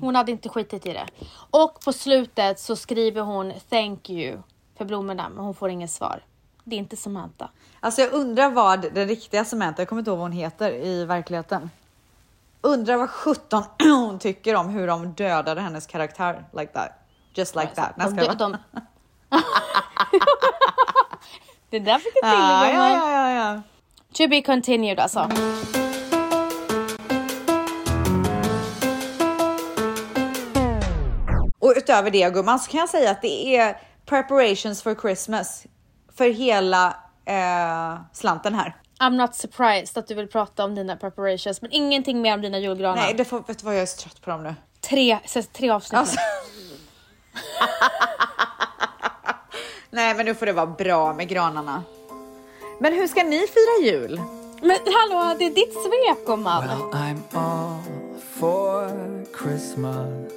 Hon hade inte skitit i det. Och på slutet så skriver hon thank you för blommorna, men hon får inget svar. Det är inte Samantha. Alltså jag undrar vad den riktiga Samantha, jag kommer inte ihåg vad hon heter i verkligheten. Undrar vad sjutton hon tycker om hur de dödade hennes karaktär like that. Just like that. Nej, De, ska jag de, bara- de... det där fick jag till Ja, gumman. ja, ja, ja, ja. To be continued alltså. Och utöver det gumman så kan jag säga att det är preparations for Christmas för hela eh, slanten här. I'm not surprised att du vill prata om dina preparations men ingenting mer om dina julgranar. Nej, det får, vet du vad jag är så trött på dem nu. Tre, så- tre avsnitt Alltså. nu. Nej, men nu får det vara bra med granarna. Men hur ska ni fira jul? Men hallå, det är ditt svep gumman. Well, I'm all for Christmas.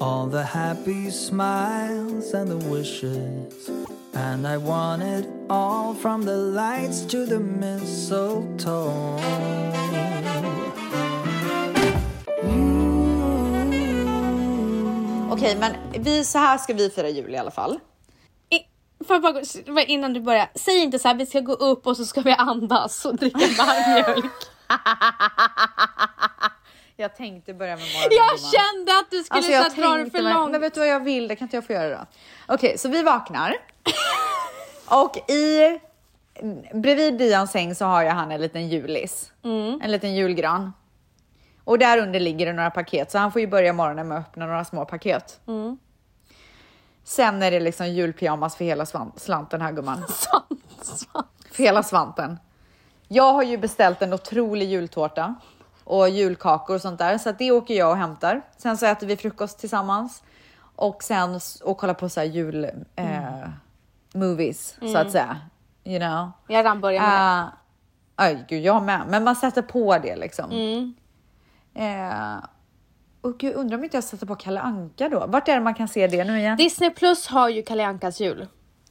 All the happy smiles and the wishes. And I want it all from the lights to the mistletoe. Okej, men vi, så här ska vi fira jul i alla fall. I- Får jag bara, gå- s- innan du börjar, säg inte så här vi ska gå upp och så ska vi andas och dricka varm mjölk. Jag tänkte börja med morgonen. Jag kände att du skulle Alltså, så här dra det för men, långt. men vet du vad jag vill? Det kan inte jag få göra då. Okej, så vi vaknar. och i... Bredvid Dians säng så har jag han en liten julis. En liten julgran. Och där under ligger det några paket, så han får ju börja morgonen med att öppna några små paket. Sen är det liksom julpyjamas för hela svan- slanten här gumman. Sant, sant. För hela svanten. Jag har ju beställt en otrolig jultårta och julkakor och sånt där, så att det åker jag och hämtar. Sen så äter vi frukost tillsammans och sen s- och kollar på så här jul eh, movies så Mm. att säga. You know? Jag har redan börjat med det. Uh, aj, gud, jag med. Men man sätter på det liksom. Mm. Eh, och gud, undrar om inte jag sätter på Kalle Anka då? Vart är det man kan se det nu igen? Disney plus har ju Kalle Ankas jul.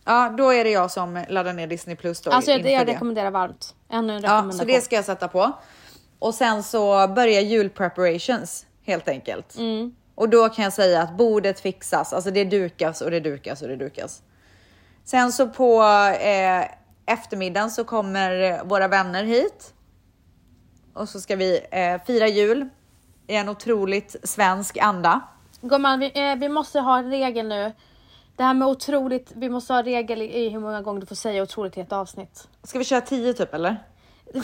Ja, då är det jag som laddar ner Disney Plus då. Alltså jag, inför jag rekommenderar varmt. Ännu en Ja, rekommendation. så det ska jag sätta på. Och sen så börjar julpreparations helt enkelt. Och då kan jag säga att bordet fixas, alltså det dukas och det dukas och det dukas. Sen så på eh, eftermiddagen så kommer våra vänner hit. Och så ska vi eh, fira jul i en otroligt svensk anda. Gumman, vi, eh, vi måste ha en regel nu. Det här med otroligt, vi måste ha en regel i- i hur många gånger du får säga otroligt i ett avsnitt. Ska vi köra 10 typ eller?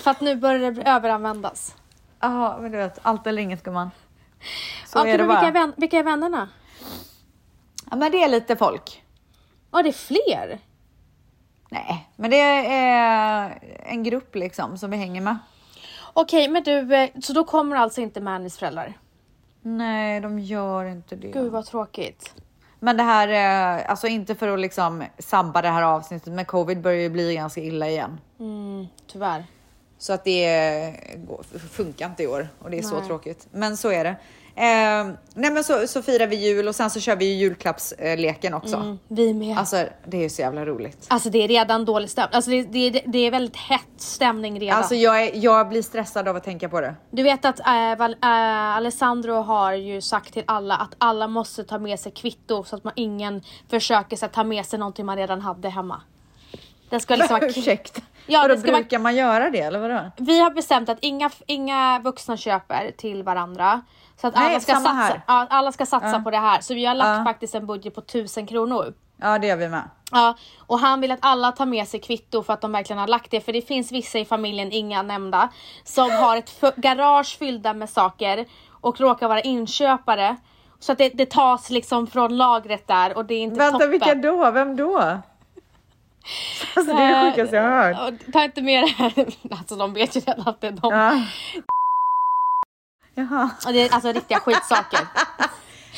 För att nu börjar det överanvändas. Ja, men du vet, allt eller inget gumman. Så Okej, är det men vilka, är bara. vän, vilka är vännerna? Ja, men det är lite folk. Ja, det är fler. Nej, men det är en grupp liksom som vi hänger med. Okej, men du, eh, så då kommer alltså inte Mannys föräldrar? Nej, de gör inte det. Gud vad tråkigt. Men det här, eh, alltså inte för att liksom sabba det här avsnittet, men covid börjar ju bli ganska illa igen. Mm, tyvärr. Så att det eh, går- funkar inte i år och det är så Nej. tråkigt. Men så är det. Eh, nej men så, så firar vi jul och sen så kör vi ju julklappsleken också. Mm, vi med. Alltså, Alltså det är ju så jävla roligt. det är redan dålig stämning. Alltså det, det, det är väldigt hett stämning redan. Alltså jag, är, jag blir stressad av att tänka på det. Du vet att eh, Val, eh, Alessandro har ju sagt till alla att alla måste ta med sig kvitto så att man ingen försöker så, att ta med sig någonting man redan hade hemma. Det ska liksom vara Ursäkta. Ja, Ja, det då ska vara- brukar man göra det eller vadå? Vi har bestämt att inga, inga vuxna köper till varandra. Så att Nej, alla ska samma satsa, här. ja, alla ska satsa på det här. Så vi har lagt Ja. faktiskt en budget på 1000 kronor. Ja, det gör vi med. Ja, och han vill att alla tar med sig kvitto för att de verkligen har lagt det. För det finns vissa i familjen, inga nämnda, som har ett f- garage fyllda med saker och råkar vara inköpare. Så att det, det tas liksom från lagret där och det är inte Vänta, toppen. vilka då? Vem då? Alltså, det är det sjukaste jag har hört. Och Eh, Ta inte med det här. Alltså de vet ju redan att det är de. Ja. Jaha, Och det är alltså riktiga skitsaker.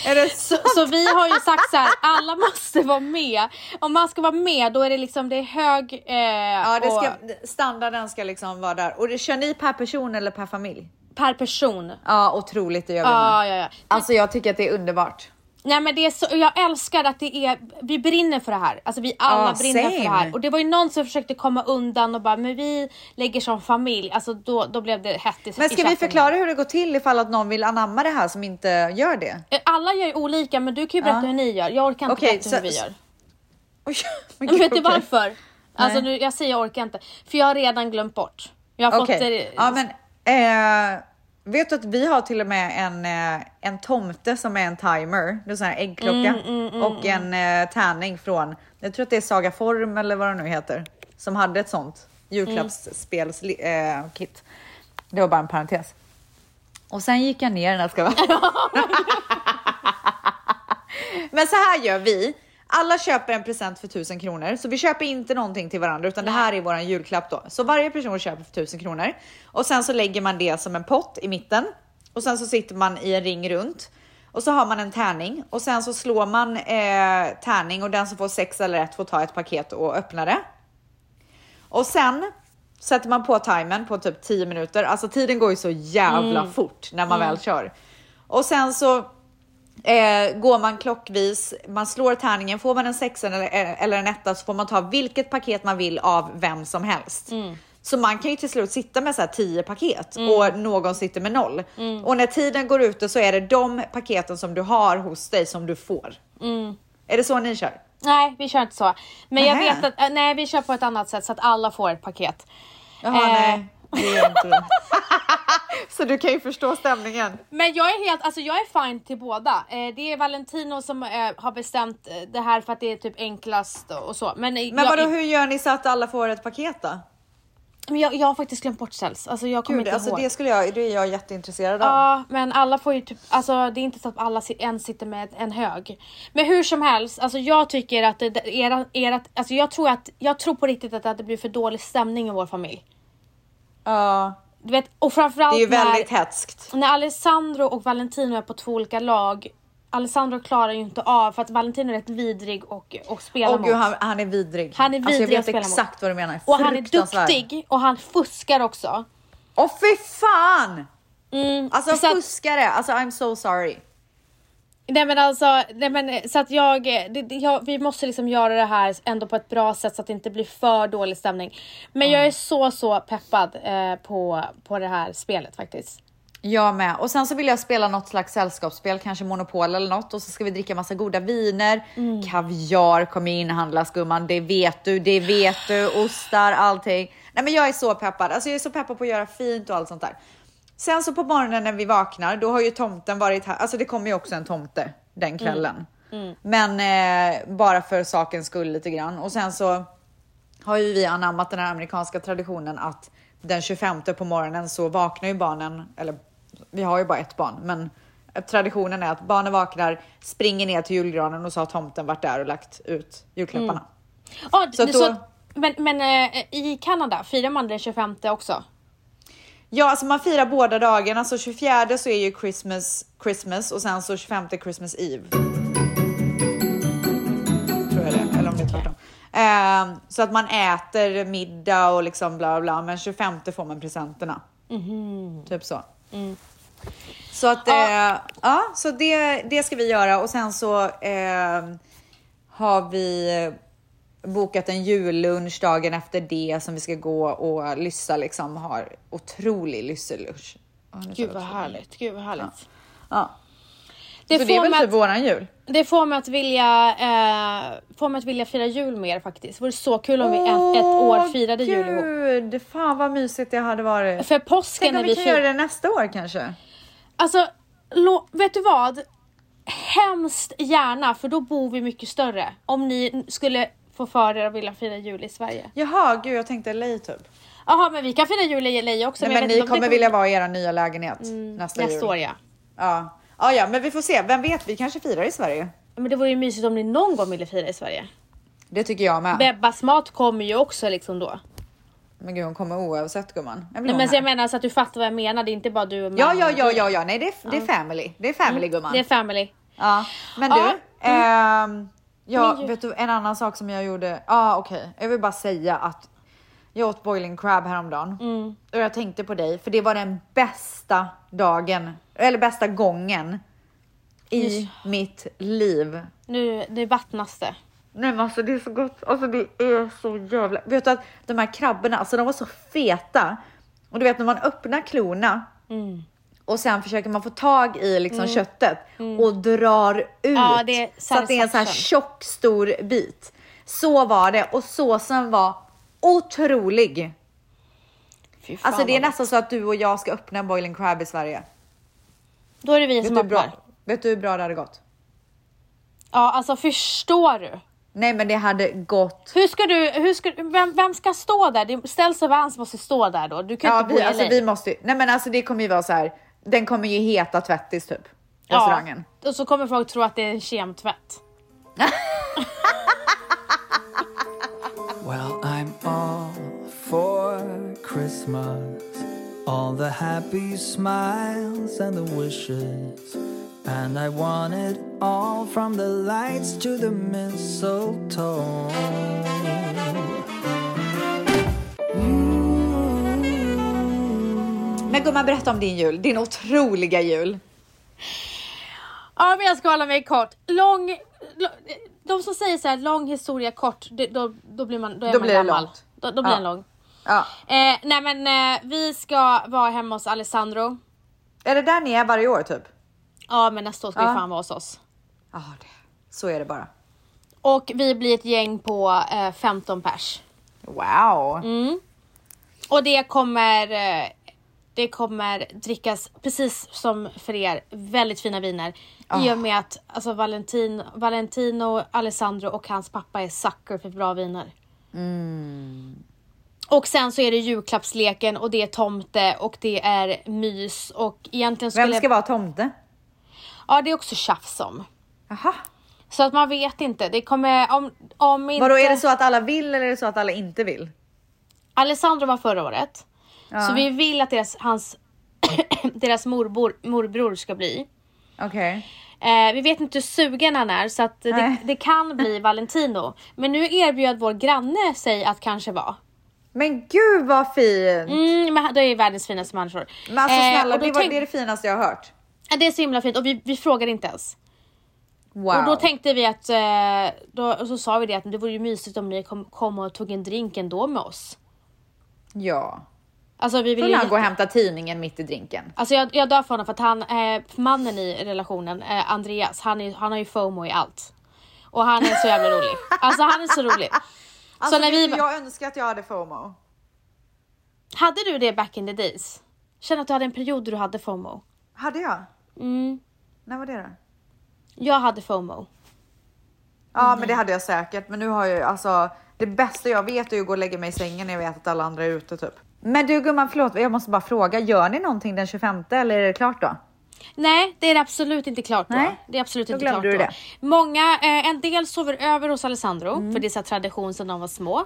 är det så? Så, så vi har ju sagt så här, alla måste vara med. Om man ska vara med då är det liksom, det är hög... Eh, Ja, det och, ska, standarden ska liksom vara där. Och det kör ni per person eller per familj? per person. Ja, otroligt, det gör vi med. Ja, ja, ja. Alltså jag tycker att det är underbart. Nej men det är så, jag älskar att det är, vi brinner för det här. Alltså vi alla Ja, brinner för det same. här. Och det var ju någon som försökte komma undan och bara, men vi lägger som familj. Alltså då, då blev det hett i Men i ska vi chatten. förklara hur det går till ifall att någon vill anamma det här som inte gör det? Eh, Alla gör ju olika men du kan ju berätta Ja. hur ni gör. Jag orkar inte Okej, berätta hur så- vi gör. Oj, Men men gud, vet du okej. varför? Alltså nu, Nej. jag säger jag orkar inte. För jag har redan glömt bort. Jag har Okej. fått det. Ja, men, eh, vet du att vi har till och med en, eh, en tomte som är en timer, det är en sån här äggklocka Mm, och en eh, tärning från, jag tror att det är Saga Form eller vad det nu heter, som hade ett sånt julklappsspelskit. Mm. Eh, kit. det var bara en parentes. Och sen gick jag ner den här ska jag vara. Men så här gör vi. Alla köper en present för 1000 kronor, så vi köper inte någonting till varandra utan det här är våran julklapp då. Så varje person köper för 1000 kronor och sen så lägger man det som en pott i mitten och sen så sitter man i en ring runt och så har man en tärning och sen så slår man eh, tärning och den som får sex eller rätt får ta ett paket och öppna det. Och sen sätter man på timern på typ 10 minuter. Alltså tiden går ju så jävla fort när man väl kör. Och sen så eh, går man klockvis, man slår tärningen, får man en sexa eller, eh, eller en etta så får man ta vilket paket man vill av vem som helst. Så man kan ju till slut sitta med så här 10 paket och någon sitter med noll. Och när tiden går ute så är det de paketen som du har hos dig som du får. Är det så ni kör? Nej, vi kör inte så. Men jag Nähä. vet att, eh, nej vi kör på ett annat sätt så att alla får ett paket. Jaha, Eh. nej. Det är inte det. så du kan ju förstå stämningen. Men jag är helt, alltså jag är fine till båda. Eh, det är Valentino som eh, har bestämt eh, det här för att det är typ enklast och, och så. Men, eh, Men jag, vadå, hur gör ni så att alla får ett paket då? men jag, jag har faktiskt glömt bort Cells. Alltså jag kommer Gud, inte alltså ihåg. det, skulle jag, det är jag jätteintresserad av. Ja, men alla får ju typ, alltså det är inte så att alla si- en sitter med en hög. Men hur som helst, alltså jag tycker att det- det, era, era, alltså jag tror att, jag tror på riktigt att det blir för dålig stämning i vår familj. Ja, Du vet, och framförallt det är ju väldigt när, hätskt. när Alessandro och Valentino är på två olika lag. Alessandro klarar ju inte av för att Valentino är rätt vidrig och, och spelar Åh mot. gud, han, han är vidrig. Han är alltså, jag vidrig vet att spela mot. exakt vad du menar. och han är Fruktansvärd. duktig och han fuskar också. Åh fy fan! Mm, Alltså så att- fuskare, alltså I'm so sorry. Nej men alltså, nej men, så att jag, det, det- jag, vi måste liksom göra det här ändå på ett bra sätt så att det inte blir för dålig stämning. Men jag är så, så peppad eh, på, på det här spelet faktiskt. Jag med. Och sen så vill jag spela något slags sällskapsspel, kanske Monopol eller något och så ska vi dricka massa goda viner. Kaviar kommer inhandlas gumman, det vet du, det vet du. Ostar, allting. Nej men jag är så peppad. Alltså jag är så peppad på att göra fint och allt sånt där. Sen så på morgonen när vi vaknar, då har ju tomten varit här. Alltså det kommer ju också en tomte den kvällen. Men eh, bara för sakens skull lite grann. Och sen så har ju vi anammat den här amerikanska traditionen att den 25 på morgonen så vaknar ju barnen, eller vi har ju bara ett barn, men traditionen är att barnen vaknar, springer ner till julgranen och så har tomten varit där och lagt ut julklapparna. Ja, Så så att så, då- men men eh, i Kanada firar man den 25 också? Ja, alltså man firar båda dagarna, så 24 så är ju Christmas, Christmas och sen så 25 är Christmas Eve. Tror jag det, eller om det är tvärtom. Ehm, så att man äter middag och liksom bla bla, men 25 får man presenterna. Typ så. Så att, ja, eh, ja så det, det ska vi göra och sen så ehm, har vi bokat en jullunch dagen efter det som vi ska gå och lyssa liksom har otrolig lysselunch. Ja, nu sa Gud jag vad otrolig. härligt, gud vad härligt. Ja. Det, så det är får väl mig typ att, våran jul? det får mig att vilja, eh, får mig att vilja fira jul mer faktiskt. Det vore så kul om vi ett, ett år firade jul ihop. ihop. Gud, fan vad mysigt det hade varit. För påsken Tänk när om vi vi kan firar... göra det nästa år kanske? Alltså, lo- vet du vad? Hemskt gärna, för då bor vi mycket större. Om ni skulle få för er att vilja fira jul i Sverige. Jaha, gud jag tänkte LA typ. Jaha, men vi kan fira jul i LA också. Nej, jag men vet inte ni om det kommer vilja vara i era nya lägenhet nästa, jul. Mm, Nästa år ja. Ja. ja, ja, men vi får se. Vem vet, vi kanske firar i Sverige. Men det vore ju mysigt om ni någon gång ville fira i Sverige. Det tycker jag med. Bebbas mat kommer ju också liksom då. Men gud, hon kommer oavsett gumman. Jag vill Nej, men ha henne. så jag menar så att du fattar vad jag menar. Det är inte bara du och Ja, Magnus. ja, ja, ja, ja. Nej, det är, det är family. Det är family gumman. Mm. Det är family. Ja, men du. Ja, ehm, ja, Men ju- vet du en annan sak som jag gjorde? Ja, ah, okej. Jag vill bara säga att jag åt boiling crab häromdagen Mm. och jag tänkte på dig för det var den bästa dagen eller bästa gången i mitt liv. Nu, det vattnas det. Nej men alltså det är så gott, alltså det är så jävla... Vet du att de här krabborna, alltså de var så feta. Och du vet när man öppnar klorna Mm. och sen försöker man få tag i liksom köttet och drar ut. Mm. Ja, det är så att det är en sån här satisfaction. tjock stor bit. Så var det och såsen var otrolig. Fy fan Alltså det är vad gott. nästan så att du och jag ska öppna en boiling crab i Sverige. Då är det vi Vet som du, hur bra, öppnar. vet du hur bra det hade gått? Ja, alltså förstår du? Nej men det hade gått Hur ska du, hur ska, vem, vem ska stå där? Det ställs och Vans måste stå där då. Du kan Ja, inte bo vi, i alltså, LA. vi måste ju- Nej men alltså det kommer ju vara så här. Den kommer ju heta tvättis typ. Ja, Restaurangen. Och så kommer folk tro att det är en kemtvätt. Well, I'm all for Christmas. All the happy smiles and the wishes. And I want it all from the lights to the mistletoe. Men gumman berätta om din jul. Din otroliga jul. Ja, men jag ska hålla mig kort. Lång... lo- De som säger så här, lång historia kort, det- då, då blir man, då är Då man blir det gammal. långt. Då, då blir Ja. den lång. Ja. Eh, nej men eh, vi ska vara hemma hos Alessandro. Är det där ni är varje år typ? Ja men nästa år ska Ja. vi fan vara hos oss. Ja, det. så är det bara. Och vi blir ett gäng på eh, 15 pers. Wow. Och det kommer, eh, det kommer drickas, precis som för er, väldigt fina viner. Ah. I och med att alltså, Valentin, Valentino, Alessandro och hans pappa är sucker för bra viner. Mm. Och sen så är det julklappsleken och det är tomte och det är mys och egentligen Vem skulle... ska vara tomte? Ja, det är också tjafs om. Jaha. Så att man vet inte. Det kommer... Om, om inte... Vadå, är det så att alla vill eller är det så att alla inte vill? Alessandro var förra året. Så vi vill att deras, hans, deras morbor, morbror ska bli. Okej. Eh, vi vet inte hur sugen han är så att det, Nej. det kan bli Valentino. Men nu erbjöd vår granne sig att kanske vara. Men gud vad fin! Mm, men han- det är ju världens finaste människor. Men alltså Eh, snälla, och då det, var, tänk- det är det finaste jag har hört. Ja, det är så himla fint och vi, vi frågade inte ens. Wow. Och då tänkte vi att, eh, då, och så sa vi det att det vore ju mysigt om ni kom, kom och tog en drink ändå med oss. ja. Alltså vi vill Vill ju han gå och jätte- hämta tidningen mitt i drinken? Alltså jag, jag dör för honom för att han, eh, mannen i relationen, eh, Andreas, han, är, han har ju FOMO i allt. Och han är så jävla rolig. Alltså han är så rolig. Alltså, så när vet vi, du, Jag önskar att jag hade FOMO. Hade du det back in the days? Känner att du hade en period då du hade FOMO? Hade jag? Mm. När var det då? Jag hade FOMO. Ja, men det hade jag säkert. Men nu har jag ju alltså det bästa jag vet är ju att gå och lägga mig i sängen när jag vet att alla andra är ute typ. Men du gumman, förlåt, jag måste bara fråga. Gör ni någonting den 25 eller är det klart då? Nej, det är absolut inte klart då. Nej, det är absolut då inte klart glömde då. du det. Mm. Många, eh, en del sover över hos Alessandro, för det är så här tradition sedan de var små.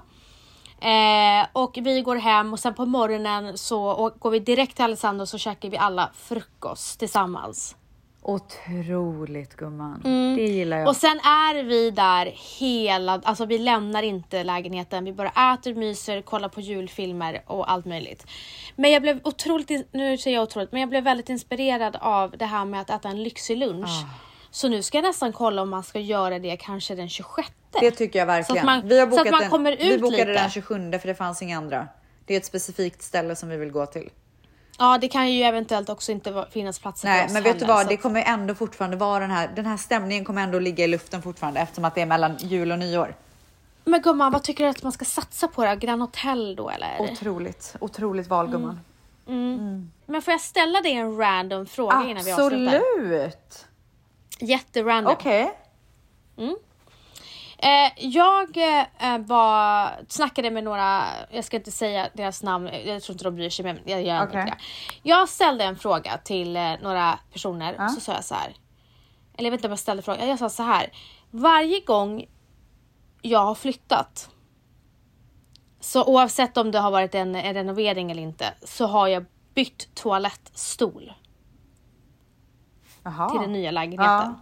Eh, och vi går hem och sen på morgonen så och går vi direkt till Alessandro så käkar vi alla frukost tillsammans. Otroligt gumman, det gillar jag. Och sen är vi där hela, alltså vi lämnar inte lägenheten. Vi bara äter, myser, kollar på julfilmer och allt möjligt. Men jag blev otroligt, in- nu säger jag otroligt, men jag blev väldigt inspirerad av det här med att äta en lyxig lunch. Ah. Så nu ska jag nästan kolla om man ska göra det kanske den 26. det tycker jag Så att verkligen. man, vi har så bokat att man en, kommer ut vi bokade lite. den 27 för det fanns inga andra. Det är ett specifikt ställe som vi vill gå till. Ja, det kan ju eventuellt också inte va- finnas platser för Nej, oss men vet du heller, vad? så Det att- kommer ändå fortfarande vara den här. Den här stämningen kommer ändå ligga i luften fortfarande eftersom att det är mellan jul och nyår. Men gumman, vad tycker du att man ska satsa på då? Grand Hotel då eller? Otroligt, otroligt val Mm. gumman. Men får jag ställa dig en random fråga innan vi Mm. avslutar? Absolut. Jätterandom. Okej. Eh, jag eh, var, snackade med några, jag ska inte säga deras namn, eh, jag tror inte de bryr sig men jag gör ändå Okej. inte det. Jag ställde en fråga till eh, några personer och så sa jag så här. Eller jag vet inte om jag ställde frågan, jag sa så här. Varje gång jag har flyttat, så oavsett om det har varit en, en renovering eller inte, så har jag bytt toalettstol Jaha. till den nya lägenheten.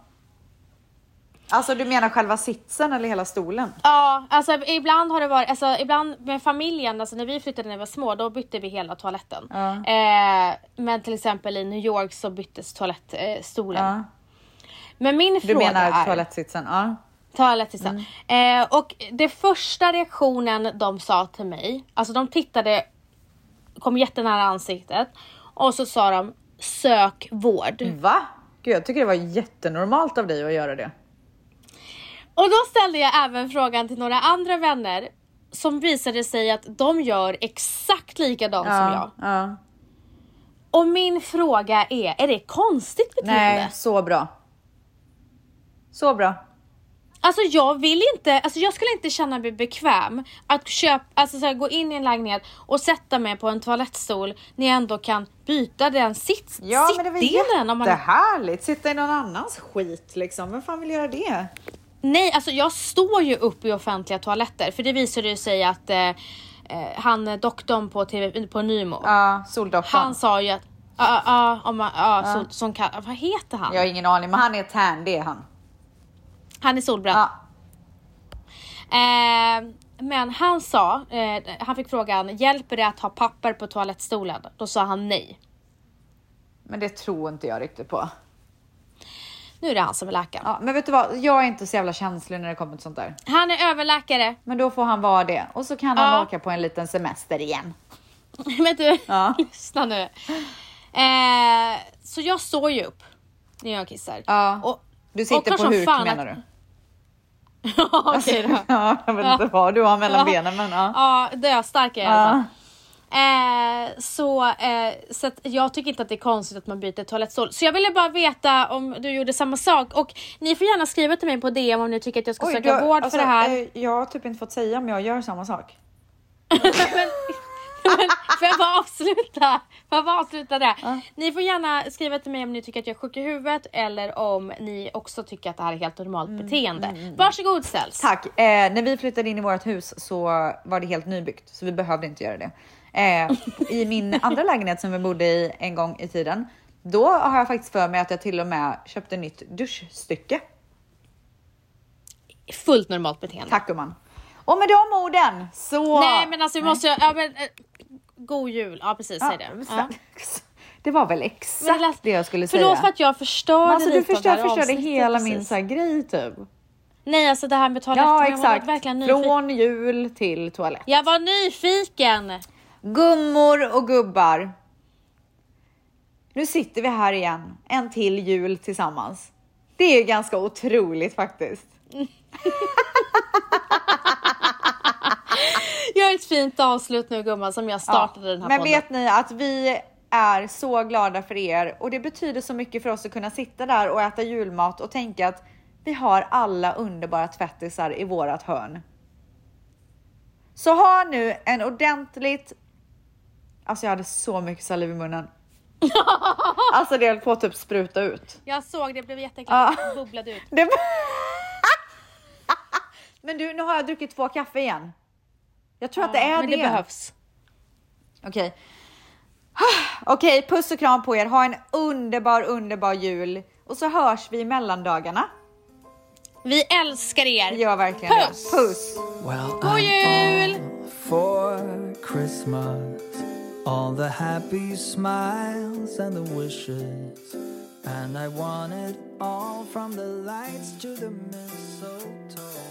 Alltså du menar själva sitsen eller hela stolen? Ja, alltså ibland har det varit, alltså ibland med familjen, alltså när vi flyttade när vi var små då bytte vi hela toaletten. Eh, men till exempel i New York så byttes toalettstolen. Eh, stolen. Ja. Men min Du fråga menar Mm. är... toalettsitsen? Ja. Toalettisar. Eh, och det första reaktionen de sa till mig, alltså de tittade, kom jättenära ansiktet och så sa de sök vård. Va? Gud, jag tycker det var jättenormalt av dig att göra det. Och då ställde jag även frågan till några andra vänner som visade sig att de gör exakt likadant som jag. ja. Och min fråga är, är det konstigt beteende? Nej, så bra. Så bra. Alltså jag vill inte, alltså jag skulle inte känna mig bekväm att köpa, alltså så här, gå in i en lägenhet och sätta mig på en toalettstol när jag ändå kan byta den sits, Ja, men det var sittdelen. Om man, jättehärligt. Sitta i någon annans skit liksom. Vem fan vill göra det? nej, alltså jag står ju upp i offentliga toaletter för det visade ju sig att eh, eh, han eh, doktorn på, TV, på Nymo, Ja, soldoktorn. han sa ju att, ja, ja, om man, ja, Så, som kan, vad heter han? Jag har ingen aning, men han är tan, det är han. Han är solbränd. Ja. Eh, men han sa, eh, han fick frågan, hjälper det att ha papper på toalettstolen? Då sa han nej. Men det tror inte jag riktigt på. Nu är det han som är läkaren. Ja, men vet du vad? Jag är inte så jävla känslig när det kommer till sånt där. Han är överläkare. Men då får han vara det och så kan han Ja. åka på en liten semester igen. men du, Ja. lyssna nu. Eh, så jag står ju upp när jag kissar. Ja. Och, Du och sitter har på som huk fan menar att- du? Okej då. Ja, jag vet inte vad du har mellan Ja. benen men ja. Ja, döstark är jag i alla fall. ja. Eh, så eh, så att jag tycker inte att det är konstigt att man byter toalettstol. Så jag ville bara veta om du gjorde samma sak. Och ni får gärna skriva till mig på DM om ni tycker att jag ska Oj, söka du- vård alltså, för det här. eh, Jag har typ inte fått säga men jag gör samma sak. men, men, får jag bara avsluta? Får jag bara avsluta det? Ni får gärna skriva till mig om ni tycker att jag är sjuk i huvudet eller om ni också tycker att det här är helt normalt Mm, beteende. Varsågod Ställs. Tack! Eh, när vi flyttade in i vårt hus så var det helt nybyggt så vi behövde inte göra det. Eh, I min andra lägenhet som vi bodde i en gång i tiden, då har jag faktiskt för mig att jag till och med köpte nytt duschstycke. Fullt normalt beteende. Tack gumman. Och med de orden så... Nej men alltså vi måste, ja men eh, God jul, ja precis säg det. Ja. exakt. Det var väl exakt Men det, lät- jag skulle säga. Förlåt för att jag förstörde Men alltså, du lite av det förstör, här förstörde avsnittet hela precis. min så här, grej typ. Nej alltså det här med toaletten, Ja jag var exakt. verkligen nyfiken. Från jul till toalett. Jag var nyfiken! Gummor och gubbar. Nu sitter vi här igen, en till jul tillsammans. Det är ganska otroligt faktiskt. Gör ett fint avslut nu gumman som jag startade den här Men podden. vet ni att vi är så glada för er och det betyder så mycket för oss att kunna sitta där och äta julmat och tänka att vi har alla underbara tvättisar i vårat hörn. Så ha nu en ordentligt... Alltså jag hade så mycket saliv i munnen. Alltså det höll på att typ spruta ut. Jag såg det, blev jätteäckligt, Ja. bubblade ut. Det... Men du, nu har jag druckit två kaffe igen. Jag tror att det är men det, det behövs. Okej. Okej, puss och kram på er. Ha en underbar, underbar jul. Och så hörs vi i mellandagarna. Vi älskar er! Det gör verkligen det. Puss! Puss! Well, God I'm jul! all for Christmas, all the happy smiles and the wishes, and I want it all from the lights to the mistletoe.